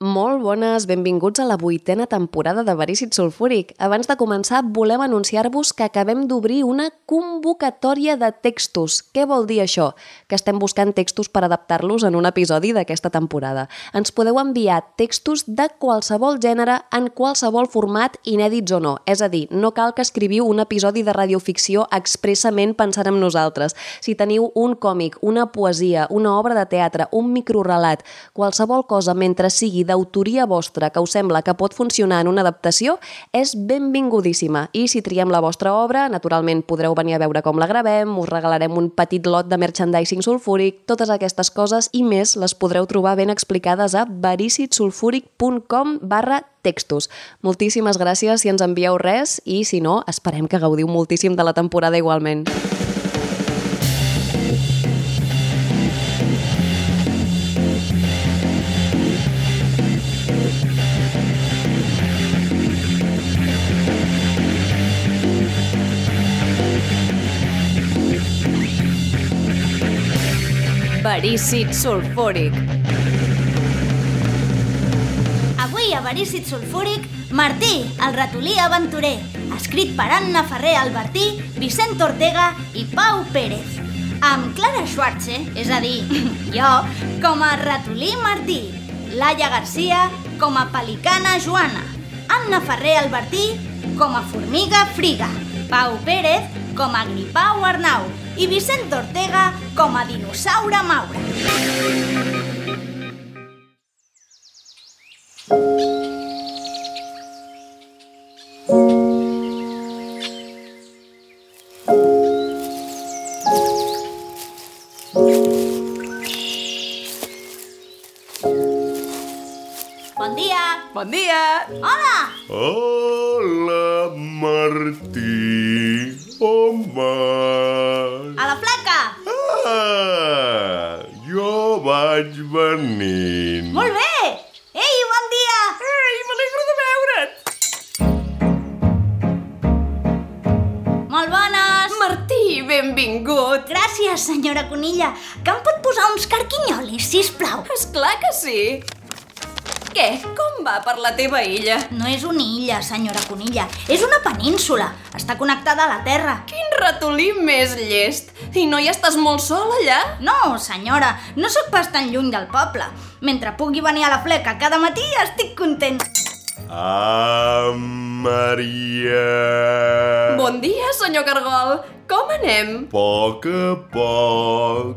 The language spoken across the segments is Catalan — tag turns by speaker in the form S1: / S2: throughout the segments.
S1: Molt bones, benvinguts a la vuitena temporada de Verícit Sulfúric. Abans de començar, volem anunciar-vos que acabem d'obrir una convocatòria de textos. Què vol dir això? Que estem buscant textos per adaptar-los en un episodi d'aquesta temporada. Ens podeu enviar textos de qualsevol gènere, en qualsevol format, inèdits o no. És a dir, no cal que escriviu un episodi de radioficció expressament pensant en nosaltres. Si teniu un còmic, una poesia, una obra de teatre, un microrelat, qualsevol cosa mentre sigui d'autoria vostra que us sembla que pot funcionar en una adaptació és benvingudíssima. I si triem la vostra obra, naturalment podreu venir a veure com la gravem, us regalarem un petit lot de merchandising sulfúric, totes aquestes coses i més les podreu trobar ben explicades a vericitsulfúric.com barra textos. Moltíssimes gràcies si ens envieu res i, si no, esperem que gaudiu moltíssim de la temporada igualment.
S2: Verícit sulfúric.
S3: Avui a Verícit Sulfúric, Martí, el ratolí aventurer. Escrit per Anna Ferrer Albertí, Vicent Ortega i Pau Pérez. Amb Clara Schwarze, és a dir, jo, com a ratolí Martí. Laia Garcia com a pelicana Joana. Anna Ferrer Albertí, com a formiga Friga. Pau Pérez, com a gripau Arnau. I Vicent Ortega, com a dinosaure Maura. Bon dia!
S2: Bon dia!
S3: Hola!
S4: Hola, Martí. Oh, Home.
S3: A la flaca!
S4: Ah, jo vaig venint.
S3: Molt bé! Ei, bon dia!
S2: Ei, m'alegro de veure't!
S3: Molt bones!
S2: Martí, benvingut!
S3: Gràcies, senyora Conilla. Que em pot posar uns carquinyolis, si plau.
S2: És clar que sí! Què? Com va per la teva illa?
S3: No és una illa, senyora Conilla. És una península. Està connectada a la Terra.
S2: Quin ratolí més llest! I no hi estàs molt sol allà?
S3: No, senyora, no sóc pas tan lluny del poble. Mentre pugui venir a la fleca cada matí, estic content.
S4: Ah, Maria.
S2: Bon dia, senyor Cargol! Com anem?
S4: poc a poc.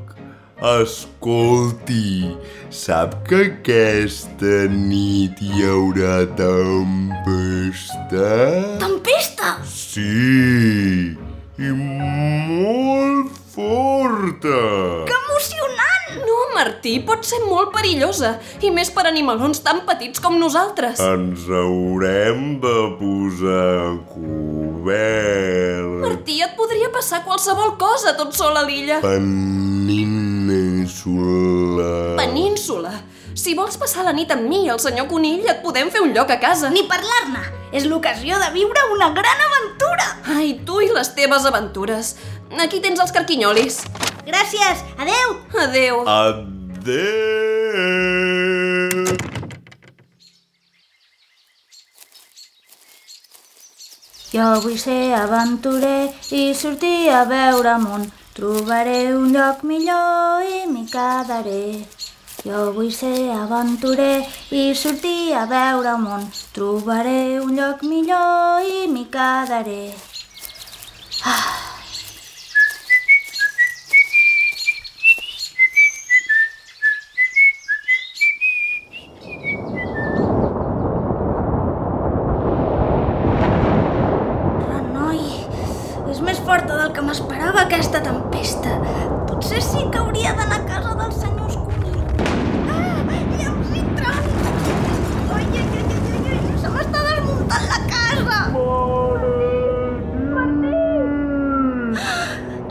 S4: Escolti, sap que aquesta nit hi haurà tempesta?
S3: Tempesta!
S4: Sí, i molt forta.
S3: Que emocionant!
S2: No, Martí, pot ser molt perillosa, i més per animalons tan petits com nosaltres.
S4: Ens haurem de posar a cobert.
S2: Martí, et podria passar qualsevol cosa tot sol a l'illa.
S4: Península.
S2: Península. Si vols passar la nit amb mi i el senyor Conill, et podem fer un lloc a casa.
S3: Ni parlar-ne! És l'ocasió de viure una gran aventura!
S2: Ai, tu i les teves aventures. Aquí tens els carquinyolis.
S3: Gràcies! Adeu!
S2: Adeu.
S4: Adéu.
S3: Jo vull ser aventurer i sortir a veure món. Trobaré un lloc millor i m'hi quedaré. Jo vull ser aventurer i sortir a veure món. Trobaré un lloc millor i m'hi quedaré. Ah. Renoi, és més forta del que m'esperava aquesta tempesta. Potser sí que hauria d'anar a casa dels senyors Cuní. Ah, llams i trons! Ai, ai, ai, ai, ai, ai, se m'està desmuntant la casa!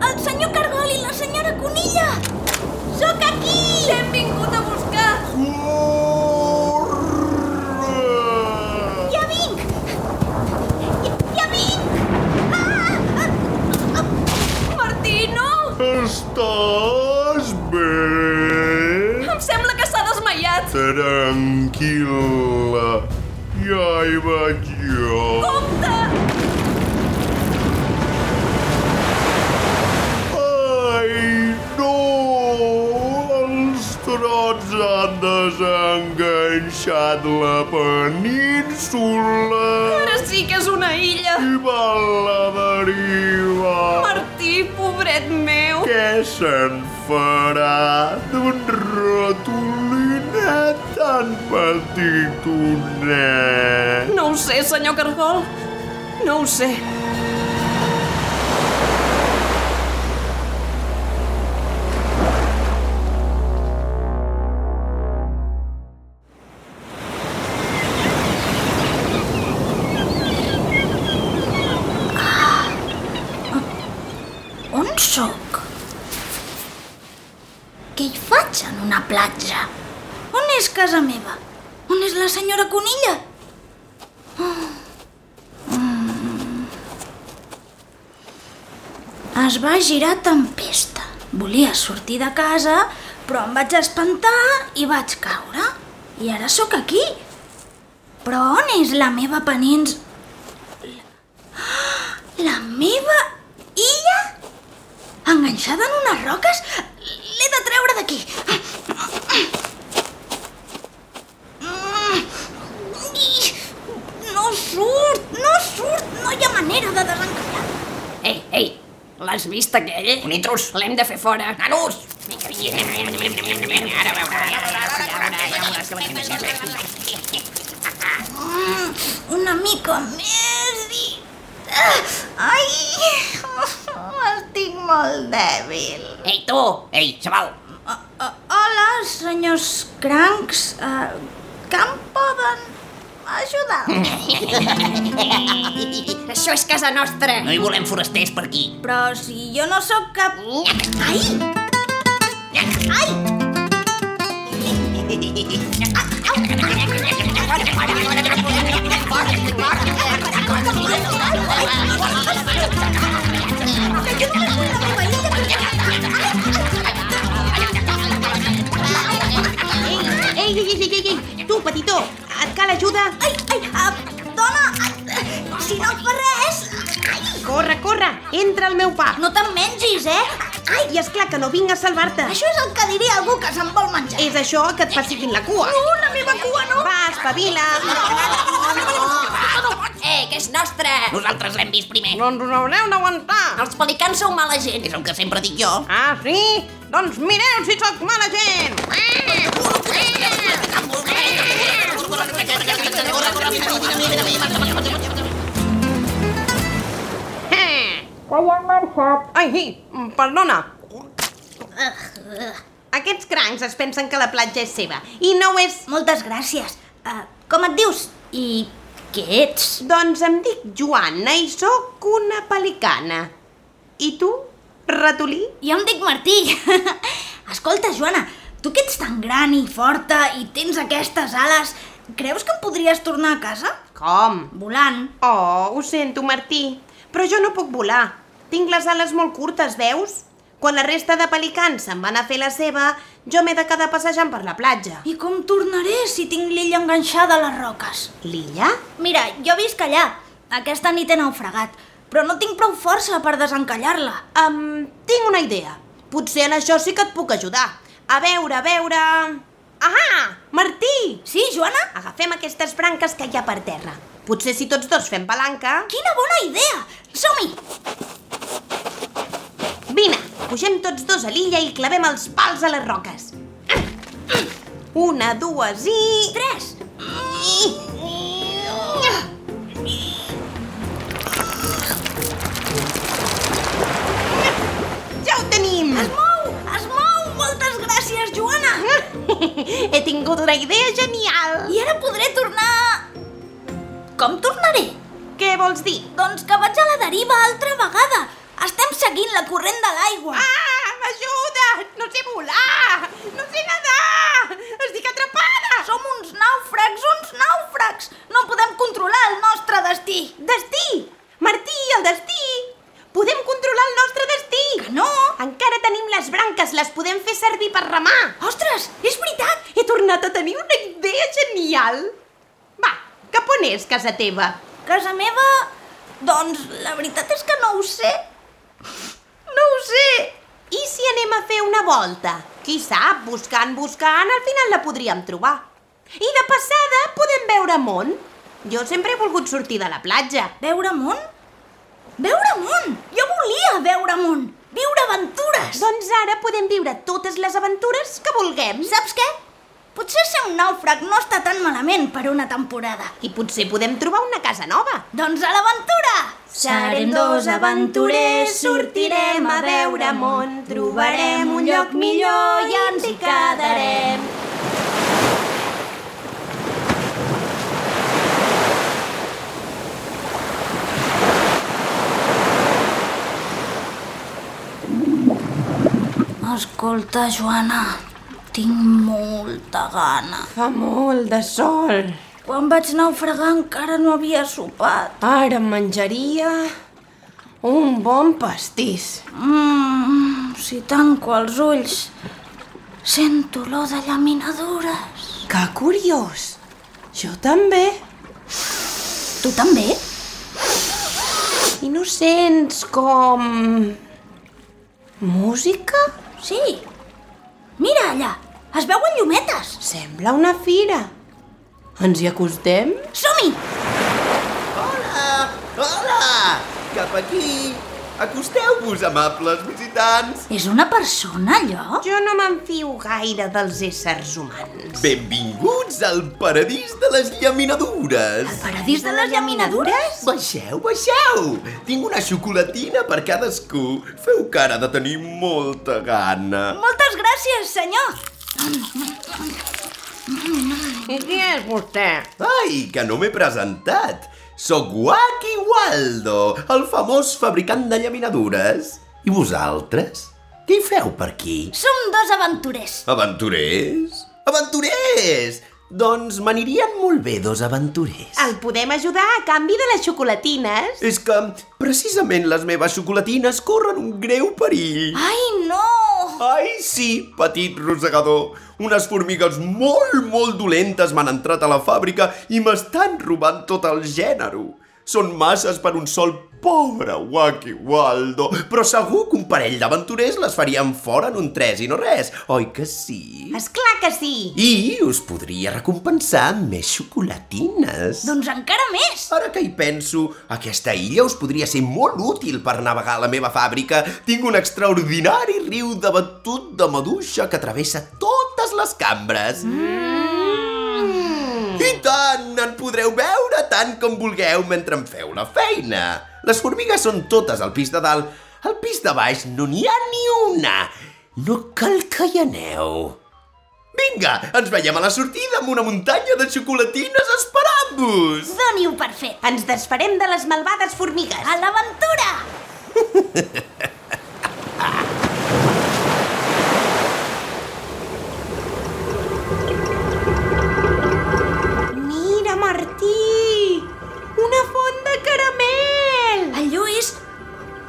S3: El senyor Cargol i la senyora Conilla! Sóc aquí! T'hem vingut a buscar!
S4: Corre!
S3: Ja vinc! Ja, ja vinc! Ah!
S2: Martí, no!
S4: Estàs bé?
S2: Em sembla que s'ha desmaiat.
S4: Tranquil, la... Ja hi vaig jo. Compte! Ai, no! Els trots han desenganxat la península
S2: Ara sí que és una illa.
S4: i van la deriva.
S2: Martí, pobret meu.
S4: Què se'n farà d'un ratolinet tan petitonet?
S2: No ho sé, senyor Cargol. No ho sé.
S3: Ah. On sóc? Què hi faig en una platja? On és casa meva? On és la senyora Conilla? Oh. Mm. Es va girar tempesta. Volia sortir de casa, però em vaig espantar i vaig caure. I ara sóc aquí. Però on és la meva penins... Ah, La meva illa? Enganxada en unes roques? L'he de treure d'aquí. Ix, Mm. No surt, no surt, no hi ha manera de desencallar.
S5: Ei, ei, l'has vist aquell? Un intrus. L'hem de fer fora. Nanus! Vinga, vinga, vinga, vinga, vinga, vinga, ara veuràs.
S3: Mm, Una mica més i... Ah, Ai, estic molt dèbil.
S5: Ei, tu! Ei, xaval!
S3: Ah, ah, Hola, senyors crancs. Uh, que em poden ajudar?
S5: Això és casa nostra. No hi volem forasters per aquí.
S3: Però si jo no sóc cap... Ai! Ai!
S6: Ei, ei, ei, ei, ei, tu, petitó, et cal ajuda?
S3: Ai, ai, ah, dona, ah, si no et fa res... Ai,
S6: Corre, corre, entra al meu pub.
S3: no te'n mengis, eh? Ai,
S6: I és clar que no vinc a salvar-te.
S3: això és el que diria algú que se'n vol menjar.
S6: És això que et pacifiquin la cua.
S3: No, la meva cua no!
S6: Va, espavila.
S5: Eh, que és nostra. Nosaltres l'hem vist primer.
S6: Doncs us haureu d'aguantar.
S5: Els pelicans sou mala gent. És el que sempre dic jo.
S6: Ah, sí? Doncs mireu si sóc mala gent. Ai, hi, perdona. Aquests crancs es pensen que la platja és seva i no ho és.
S3: Moltes gràcies. Uh, com et dius? I què ets?
S6: Doncs em dic Joana i sóc una pelicana. I tu, ratolí?
S3: Jo em dic Martí. Escolta, Joana, tu que ets tan gran i forta i tens aquestes ales, creus que em podries tornar a casa?
S6: Com?
S3: Volant.
S6: Oh, ho sento, Martí, però jo no puc volar. Tinc les ales molt curtes, veus? Quan la resta de pelicans se'n van a fer la seva, jo m'he de quedar passejant per la platja.
S3: I com tornaré si tinc l'illa enganxada a les roques?
S6: L'illa?
S3: Mira, jo visc allà. Aquesta nit he naufragat, però no tinc prou força per desencallar-la.
S6: Um, tinc una idea. Potser en això sí que et puc ajudar. A veure, a veure... Ahà! Martí!
S3: Sí, Joana?
S6: Agafem aquestes branques que hi ha per terra. Potser si tots dos fem palanca...
S3: Quina bona idea! Som-hi!
S6: Vine, pugem tots dos a l'illa i clavem els pals a les roques. Una, dues i...
S3: Tres!
S6: Ja ho tenim!
S3: Es mou! Es mou! Moltes gràcies, Joana!
S6: He tingut una idea genial!
S3: I ara podré tornar... Com tornaré?
S6: Què vols dir?
S3: Doncs que vaig a la deriva altra vegada. Estem seguint la corrent de l'aigua.
S6: Ah, m'ajuda! No sé volar! No sé nedar! Estic atrapada!
S3: Som uns nàufrags, uns nàufrags! No podem controlar el nostre destí.
S6: Destí! Martí, el destí! Podem controlar el nostre destí!
S3: Que no!
S6: Encara tenim les branques, les podem fer servir per remar!
S3: Ostres, és veritat!
S6: He tornat a tenir una idea reial? Va, cap on és casa teva?
S3: Casa meva? Doncs la veritat és que no ho sé.
S6: No ho sé. I si anem a fer una volta? Qui sap, buscant, buscant, al final la podríem trobar. I de passada podem veure món. Jo sempre he volgut sortir de la platja.
S3: Veure amunt? Veure amunt! Jo volia veure amunt! Viure aventures!
S6: Doncs ara podem viure totes les aventures que vulguem.
S3: Saps què? Potser ser un nàufrag no està tan malament per una temporada.
S6: I potser podem trobar una casa nova.
S3: Doncs a l'aventura!
S6: Serem dos aventurers, sortirem a veure món, trobarem un lloc millor i ens hi quedarem.
S3: Escolta, Joana, tinc molta gana.
S6: Fa molt de sol.
S3: Quan vaig naufragar encara no havia sopat.
S6: Ara em menjaria un bon pastís.
S3: Mmm, si tanco els ulls, sento olor de llaminadures.
S6: Que curiós. Jo també.
S3: Tu també?
S6: I no sents com... Música?
S3: Sí. Mira allà, es veuen llumetes.
S6: Sembla una fira. Ens hi acostem?
S3: Som-hi!
S7: Hola! Hola! Cap aquí! Acosteu-vos, amables visitants!
S3: És una persona, allò?
S6: Jo no m'enfio gaire dels éssers humans.
S7: Benvinguts al paradís de les llaminadures!
S3: Paradís de les llaminadures?
S7: Baixeu, baixeu! Tinc una xocolatina per cadascú. Feu cara de tenir molta gana.
S3: Moltes gràcies, senyor!
S6: I qui és vostè?
S7: Ai, que no m'he presentat! Soc Wacky Waldo, el famós fabricant de llaminadures. I vosaltres? Què hi feu per aquí?
S3: Som dos aventurers.
S7: Aventurers? Aventurers! Doncs m'anirien molt bé dos aventurers.
S6: El podem ajudar a canvi de les xocolatines.
S7: És que precisament les meves xocolatines corren un greu perill.
S3: Ai, no!
S7: Ai, sí, petit rosegador. Unes formigues molt, molt dolentes m'han entrat a la fàbrica i m'estan robant tot el gènere. Són masses per un sol pobre Wacky Waldo, però segur que un parell d'aventurers les farien fora en un tres i no res, oi que sí?
S6: És clar que sí.
S7: I us podria recompensar amb més xocolatines.
S3: Doncs encara més!
S7: Ara que hi penso, aquesta illa us podria ser molt útil per navegar a la meva fàbrica. Tinc un extraordinari riu de batut de maduixa que travessa totes les cambres. Mm.
S8: Hmm.
S7: I tant! En podreu veure tant com vulgueu mentre em feu la feina. Les formigues són totes al pis de dalt. Al pis de baix no n'hi ha ni una. No cal que hi aneu. Vinga, ens veiem a la sortida amb una muntanya de xocolatines esperant-vos!
S3: Doni-ho per fet.
S6: Ens desfarem de les malvades formigues.
S3: A l'aventura!
S6: Mira, Martí! Una font de caramel!
S3: El Lluís,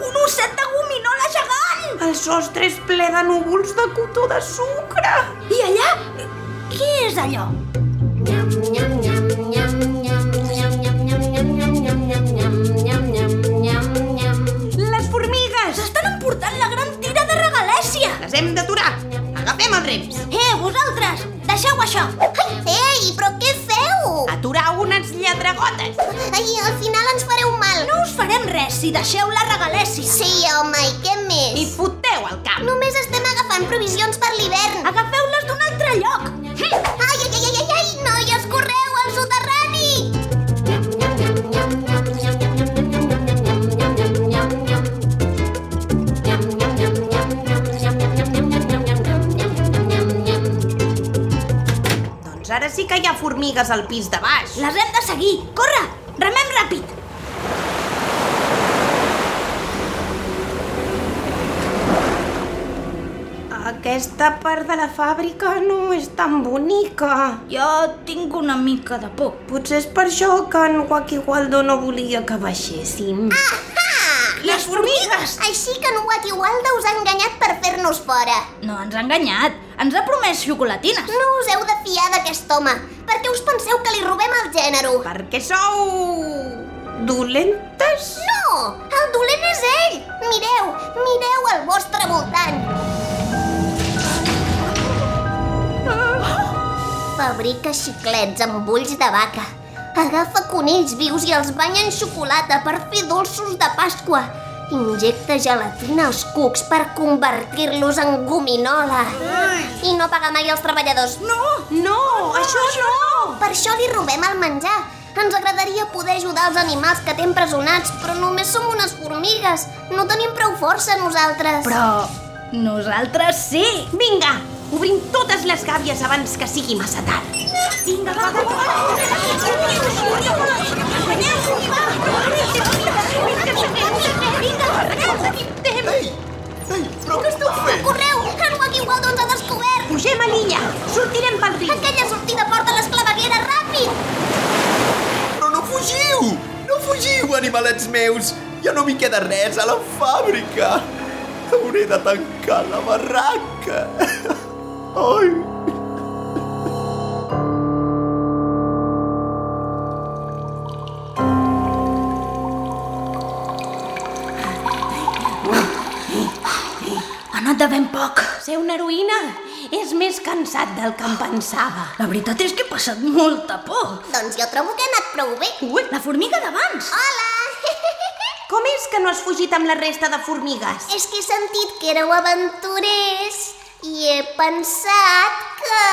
S3: un osset de gominola gegant!
S6: El sostre és ple de núvols de cotó de sucre!
S3: I allà, què és allò?
S6: Les formigues!
S3: S'estan emportant la gran tira de regalèsia!
S6: Les hem d'aturar! Agafem els rems!
S3: Eh, vosaltres, deixeu això!
S9: Ei, però què feu?
S6: Aturar unes lletragotes!
S9: Ai, al final ens fareu mal.
S3: No us farem res si deixeu la regalèsia!
S9: Sí, home, i què més?
S6: I foteu el cap!
S9: Només estem agafant provisions per l'hivern.
S3: Agafeu-les d'un altre lloc!
S9: Ai, ai, ai, ai, ai, noies, correu al soterrani!
S6: Doncs ara sí que hi ha formigues al pis de baix.
S3: Les hem de seguir! Corre! Remem ràpid!
S6: Aquesta part de la fàbrica no és tan bonica.
S3: Jo tinc una mica de por. Ah!
S6: Potser és per això que en Wacky Waldo no volia que baixéssim.
S3: Les
S6: formigues!
S9: Així que en Wat Igualda us ha enganyat per fer-nos fora.
S3: No ens ha enganyat. Ens ha promès xocolatines.
S9: No us heu de fiar d'aquest home. Per què us penseu que li robem el gènere?
S6: Perquè sou... dolentes?
S9: No! El dolent és ell! Mireu, mireu al vostre voltant! Fabrica xiclets amb ulls de vaca. Agafa conills vius i els banya en xocolata per fer dolços de Pasqua. Injecta gelatina als cucs per convertir-los en gominola. I no paga mai els treballadors.
S6: No, no, això no!
S9: Per això li robem el menjar. Ens agradaria poder ajudar els animals que té empresonats, però només som unes formigues. No tenim prou força nosaltres.
S3: Però nosaltres sí.
S6: Eh, Vinga, obrim totes les gàbies abans que sigui massa tard. Vinga, va, va, va!
S10: Ei! Ei, però què esteu fent?
S9: Correu! En Wacky Waldo ens ha descobert!
S6: Pugem a l'illa, sortirem pel riu.
S9: Aquella sortida porta a les clavegueres, ràpid!
S10: Però no fugiu! No fugiu, animalets meus! Ja no m'hi queda res a la fàbrica! Hauré de tancar la barraca! Ai!
S3: Ha anat de ben poc.
S6: Ser una heroïna és més cansat del que em pensava.
S3: La veritat és que he passat molta por.
S9: Doncs jo trobo que ha anat prou bé.
S6: Ui,
S3: La formiga d'abans.
S9: Hola!
S6: com és que no has fugit amb la resta de formigues?
S9: És que he sentit que éreu aventurers i he pensat que...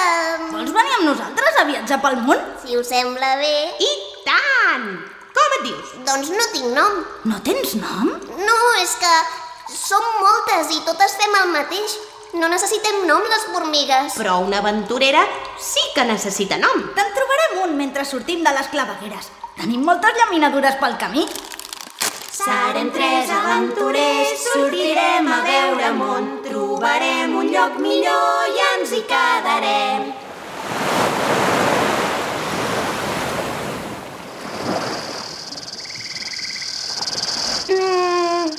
S3: Vols venir amb nosaltres a viatjar pel món?
S9: Si us sembla bé...
S6: I tant! Com et dius?
S9: Doncs no tinc nom.
S3: No tens nom?
S9: No, és que som moltes i totes fem el mateix. No necessitem nom, les formigues.
S6: Però una aventurera sí que necessita nom.
S3: Te'n trobarem un mentre sortim de les clavegueres. Tenim moltes llaminadures pel camí.
S6: Serem tres aventurers, sortirem a veure món, trobarem un lloc millor i ens hi quedarem. Mm,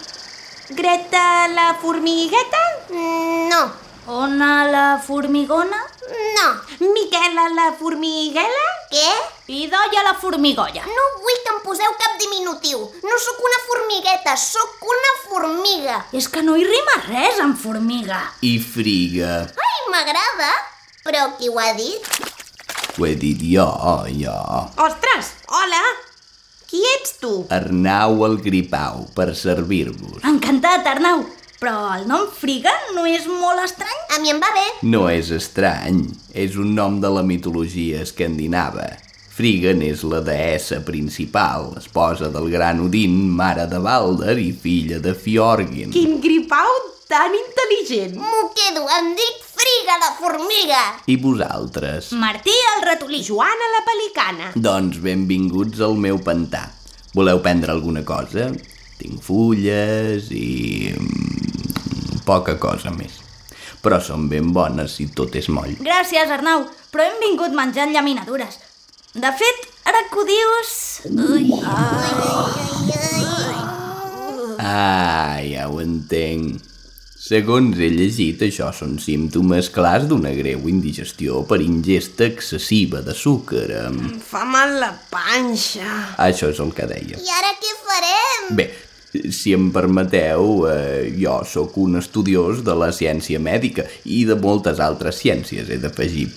S6: Greta la formigueta?
S9: Mm, No,
S3: Ona la formigona?
S9: no.
S6: Miquela la formiguela?
S9: Què?
S3: Pidolla la formigolla.
S9: No vull que em poseu cap diminutiu. No sóc una formigueta, sóc una formiga.
S3: És que no hi rima res amb formiga.
S10: I friga.
S9: Ai, m'agrada. Però qui ho ha dit?
S10: Ho he dit jo, jo.
S6: Ostres, hola! Qui ets tu?
S10: Arnau el Gripau, per servir-vos.
S3: Encantat, Arnau. Però el nom friga no és molt estrany?
S9: A mi em va bé.
S10: No és estrany, és un nom de la mitologia escandinava. Frigan és la deessa principal, esposa del gran Odin, mare de Balder i filla de Fjorgin.
S6: Quin gripau tan intel·ligent!
S9: M'ho quedo, em dic friga la formiga.
S10: I vosaltres?
S3: Martí el ratolí.
S6: Joana la Pelicana.
S10: Doncs benvinguts al meu pantà. Voleu prendre alguna cosa? Tinc fulles i... mm, poca cosa més. Però són ben bones si tot és moll.
S3: Gràcies, Arnau, però hem vingut menjant llaminadures. De fet, ara que ho dius... Ui.
S10: Ah, ja ho entenc. Segons he llegit, això són símptomes clars d'una greu indigestió per ingesta excessiva de sucre.
S6: Em fa mal la panxa.
S10: Ah, Això és el que deia.
S9: I ara què farem?
S10: Bé, si em permeteu, eh, jo sóc un estudiós de la ciència mèdica i de moltes altres ciències, he d'afegir.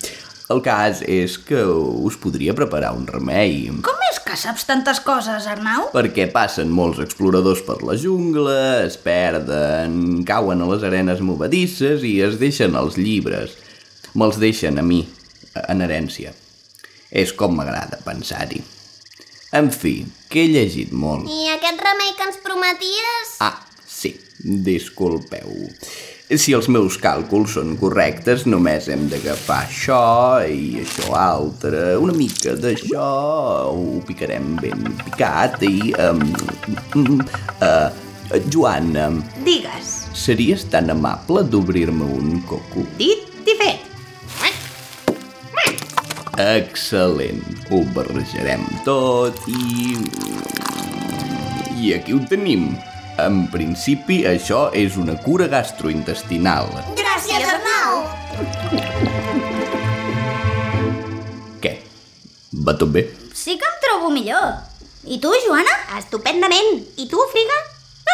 S10: El cas és que us podria preparar un remei.
S3: Com és que saps tantes coses, Arnau?
S10: perquè passen molts exploradors per la jungla, es perden, cauen a les arenes movedisses i es deixen els llibres. Me'ls deixen a mi, en herència. És com m'agrada pensar-hi. En fi, que he llegit molt.
S9: I aquest remei que ens prometies?
S10: Ah, sí, disculpeu. Si els meus càlculs són correctes, només hem d'agafar això i això altre, una mica d'això, ho picarem ben picat i... Um, mm, uh, Joana,
S6: Digues,
S10: series tan amable d'obrir-me un coco?
S6: dit i fet.
S10: Excel·lent, ho barrejarem tot i... I aquí mm, ho tenim, En principi, això és una cura gastrointestinal.
S9: Gràcies, Arnau!
S10: Què? Va tot bé?
S3: Sí que em trobo millor. I tu, Joana?
S6: Estupendament. I tu, Friga?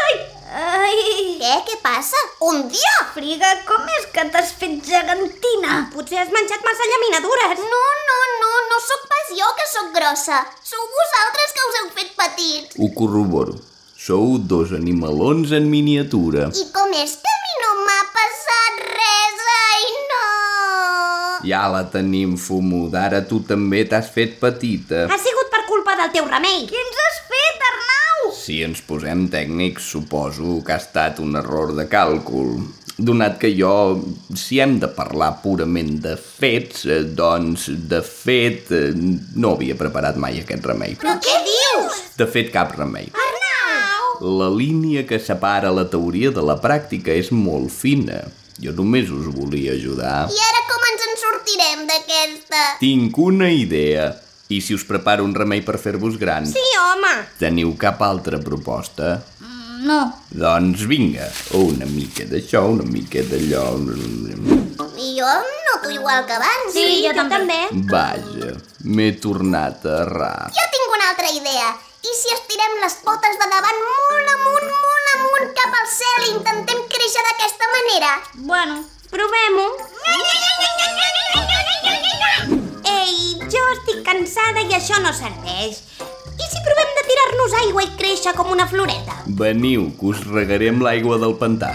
S3: Ai! Ai!
S9: Què? Què passa? Un dia!
S3: Friga, com és que t'has fet gegantina?
S6: Potser has menjat massa llaminadures.
S9: No, no, no, no sóc pas jo que sóc grossa. Sou vosaltres que us heu fet petits.
S10: Ho corroboro. Sou dos animalons en miniatura.
S9: I com és que a mi no m'ha passat res? Ai, no!
S10: Ja la tenim, Fumud. Ara tu també t'has fet petita.
S6: Ha sigut per culpa del teu remei.
S3: Què ens has fet, Arnau?
S10: Si ens posem tècnics, suposo que ha estat un error de càlcul. Donat que jo, si hem de parlar purament de fets, eh, doncs, de fet, eh, no havia preparat mai aquest remei.
S9: Però què dius?
S10: De fet, cap remei. La línia que separa la teoria de la pràctica és molt fina. Jo només us volia ajudar.
S9: I ara com ens en sortirem d'aquesta?
S10: Tinc una idea. I si us preparo un remei per fer-vos grans?
S6: Sí, home.
S10: Teniu cap altra proposta?
S3: No.
S10: Doncs vinga, una mica d'això, una mica d'allò...
S9: I jo noto igual que abans.
S6: Sí, jo, també.
S10: Vaja, m'he tornat a errar.
S9: Jo tinc una altra idea. I si estirem les potes de davant molt amunt, molt amunt, cap al cel i intentem créixer d'aquesta manera?
S3: Bueno,
S6: Provem-ho. Ei, jo estic cansada i això no serveix. I si provem de tirar-nos aigua i créixer com una floreta?
S10: Veniu, que us regarem l'aigua del pantà.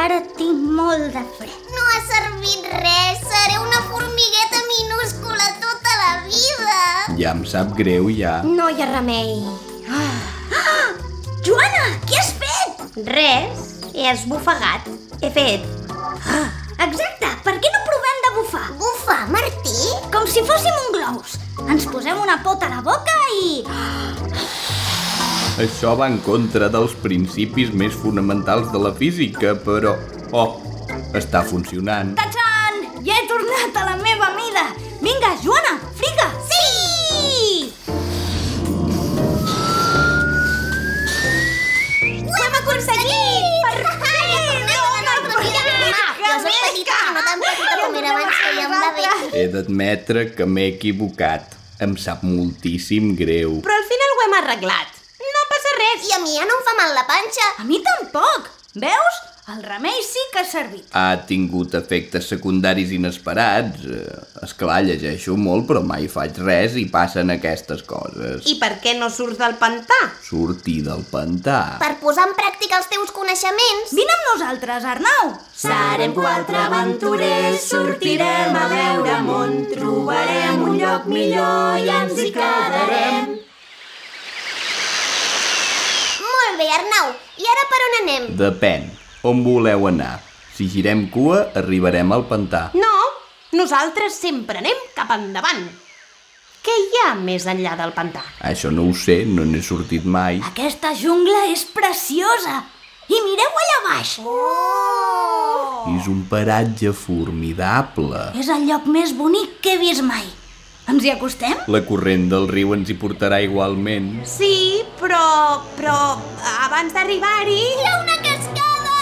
S3: ara tinc molt de fred.
S9: No ha servit res, seré una formigueta minúscula tota la vida.
S10: Ja em sap greu, ja.
S6: No hi ha remei.
S3: Ah! Joana, què has fet?
S6: Res. He esbufegat. He fet...
S3: Ah, Exacte, per què no provem de bufar?
S9: Bufa, Martí?
S3: Com si fóssim un globus. Ens posem una pota a la boca i...
S10: Això va en contra dels principis més fonamentals de la física, però... Oh, està funcionant.
S3: Tatxan! Ja he tornat a la meva mida! Vinga, Joana, friga! Sí!
S6: Ho hem aconseguit! Per fi!
S9: Jo soc petita, però no tan petita com era abans que ja em va bé.
S10: He d'admetre que m'he equivocat. Em sap moltíssim greu.
S6: Però al final ho hem arreglat. No passa res.
S9: I a mi ja no em fa mal la panxa.
S3: A mi tampoc! Veus? El remei sí que ha servit.
S10: Ha tingut efectes secundaris inesperats. Eh, Esclar, llegeixo molt, però mai faig res i passen aquestes coses.
S6: I per què no surts del pantà?
S10: Sortir del pantà.
S9: Per posar en pràctica els teus coneixements.
S3: Vine amb nosaltres, Arnau!
S2: Serem quatre aventurers, sortirem a veure món, trobarem un lloc millor i ens hi quedarem.
S9: Molt bé, Arnau. I ara per on anem?
S10: Depèn. On voleu anar? Si girem cua, arribarem al pantà.
S6: No, nosaltres sempre anem cap endavant. Què hi ha més enllà del pantà?
S10: Això no ho sé, no n'he sortit mai.
S3: Aquesta jungla és preciosa! I mireu allà baix!
S2: Oh!
S10: És un paratge formidable.
S3: És el lloc més bonic que he vist mai. Ens hi acostem?
S10: La corrent del riu ens hi portarà igualment.
S6: Sí, però... però... abans d'arribar-hi...
S9: Hi ha una cascada!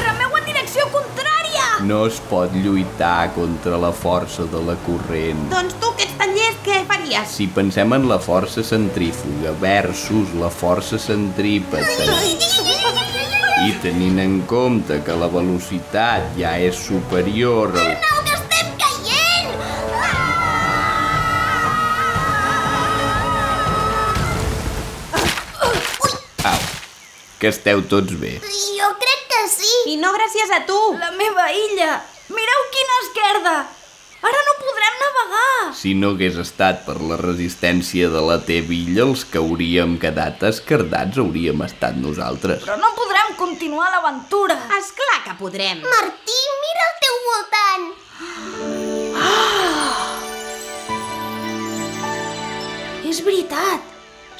S3: Remeu en direcció contrària!
S10: No es pot lluitar contra la força de la corrent.
S6: Doncs tu, que ets tan llest, què faries?
S10: Si pensem en la força centrífuga versus la força centrípeta i tenint en compte que la velocitat ja és superior a...
S9: Arnau, que estem caient!
S10: Au, Ah, que esteu tots bé.
S9: Jo crec que sí.
S6: I no gràcies a tu.
S3: La meva illa! Mireu quina esquerda! Ara no podrem navegar!
S10: Si no hagués estat per la resistència de la T-Villa, els que hauríem quedat escardats hauríem estat nosaltres.
S3: Però no podrem continuar l'aventura!
S6: És clar que podrem.
S9: Martí, mira al teu voltant.
S6: Ah!
S3: És veritat!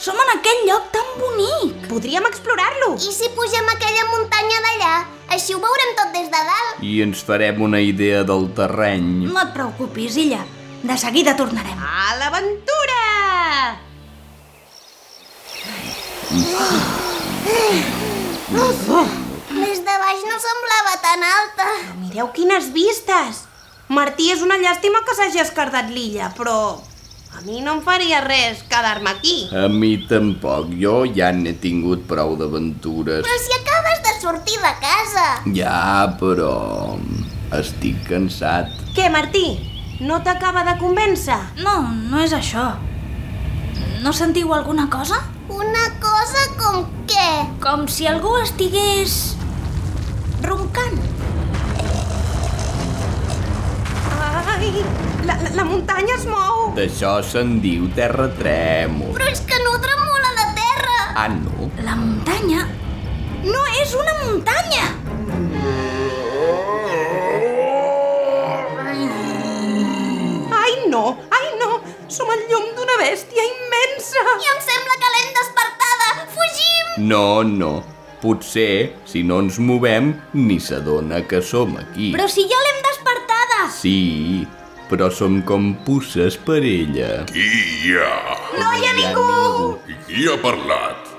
S3: Som en aquell lloc tan bonic!
S6: Podríem explorar-lo.
S9: I si pugem a aquella muntanya d'allà? Així ho veurem tot des de dalt.
S10: I ens farem una idea del terreny.
S3: No et preocupis, illa. De seguida tornarem.
S6: A l'aventura!
S9: Des de baix no semblava tan alta.
S6: Mireu quines vistes! Martí, és una llàstima que s'hagi escardat l'illa, però... A mi no em faria res quedar-me aquí.
S10: A mi tampoc, jo ja n'he tingut prou d'aventures.
S9: Però si acabes de sortir de casa.
S10: Ja, però... estic cansat.
S6: Què, Martí? No t'acaba de convèncer?
S3: No, no és això. No sentiu alguna cosa?
S9: Una cosa com què?
S3: Com si algú estigués... roncant.
S6: Ai, la, la, la muntanya es mou!
S10: D'això se'n diu terratrèmol.
S9: Però és que no tremola la terra.
S10: Ah, no?
S3: La muntanya no és una muntanya!
S6: Ai, no! Ai, no! Som el llum d'una bèstia immensa!
S9: I em sembla que l'hem despertada. Fugim!
S10: No, no. Potser, si no ens movem, ni s'adona que som aquí.
S3: Però si ja l'hem despertada!
S10: Sí, però som com pusses per ella.
S8: Qui hi ha?
S6: No hi ha ningú!
S8: I qui ha parlat?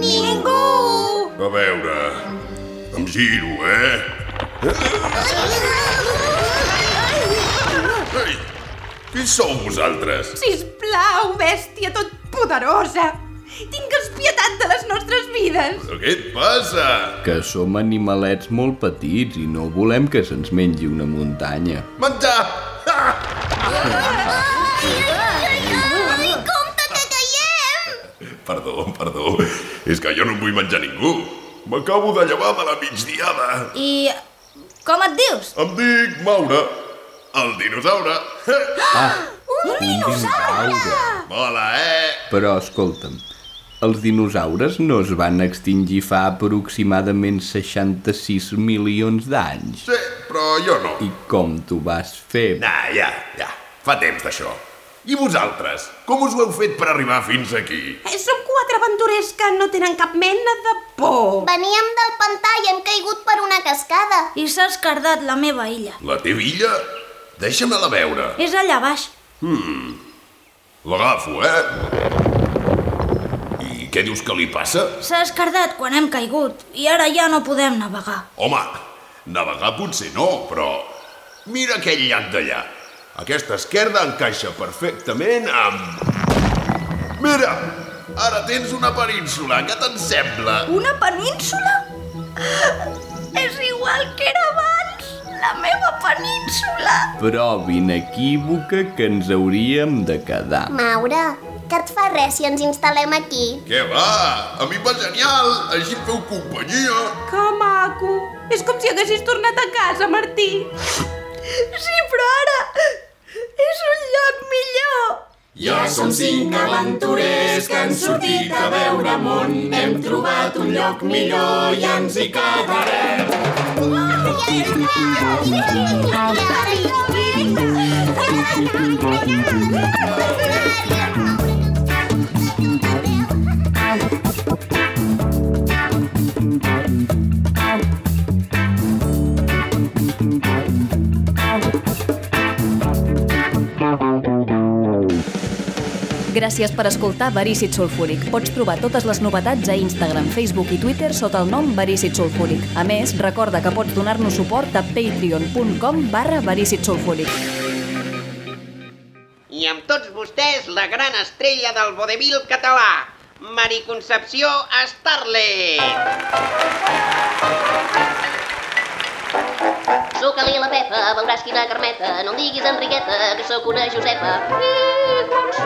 S6: Ningú!
S8: A veure... Em giro, eh? Ei, qui sou vosaltres?
S6: Sisplau, bèstia totpoderosa! Tingues pietat de les nostres vides!
S8: Però què et passa?
S10: Que som animalets molt petits i no volem que se'ns mengi una muntanya.
S8: Menjar! Ah!
S9: Ai, compte que caiem!
S8: Perdó, perdó. És que jo no em vull menjar ningú. M'acabo de llevar de la migdiada.
S3: I... com et dius?
S8: Em dic Maura, el dinosaure.
S10: Ah,
S8: Ah,
S10: Un dinosaure!
S8: Mola, eh?
S10: Però escolta'm, els dinosaures no es van extingir fa aproximadament 66 milions d'anys.
S8: Sí, però jo no.
S10: I com t'ho vas fer?
S8: Ah, ja, ja. Fa temps d'això. I vosaltres? Com us ho heu fet per arribar fins aquí?
S6: Eh, Som quatre aventurers que no tenen cap mena de por.
S9: Veníem del pantà i hem caigut per una cascada.
S3: I s'ha escardat la meva illa.
S8: La teva illa? Deixa'm-la veure. Hmm,
S3: És allà baix.
S8: L'agafo, eh? I què dius que li passa?
S3: S'ha escardat quan hem caigut i ara ja no podem navegar.
S8: Home, navegar potser no, però... Mira aquell llac d'allà. Aquesta esquerda encaixa perfectament amb... Mira! Ara tens una península, què te'n sembla?
S3: Una península? Ah, És igual que era abans, la meva península.
S10: Però ben equívoca que ens hauríem de quedar.
S9: Maura, que et fa res si ens instal·lem aquí?
S8: Què va? A mi va genial! Així em feu companyia!
S6: Que maco! És com si haguessis tornat a casa, Martí.
S3: Sí, però ara és un lloc millor.
S11: Ja som cinc aventurers que han sortit a veure món. Hem trobat un lloc millor i ens hi quedarem.
S1: Gràcies per escoltar Verícit Sulfúric. Pots trobar totes les novetats a Instagram, Facebook i Twitter sota el nom Verícit Sulfúric. A més, recorda que pots donar-nos suport a patreon.com barra Verícit Sulfúric.
S7: I amb tots vostès, la gran estrella del vodevil català, Mari Concepció Starlet.
S9: Suca-li a la Pepa, veuràs quina carmeta. No em diguis Enriqueta, que sóc una Josepa. I quan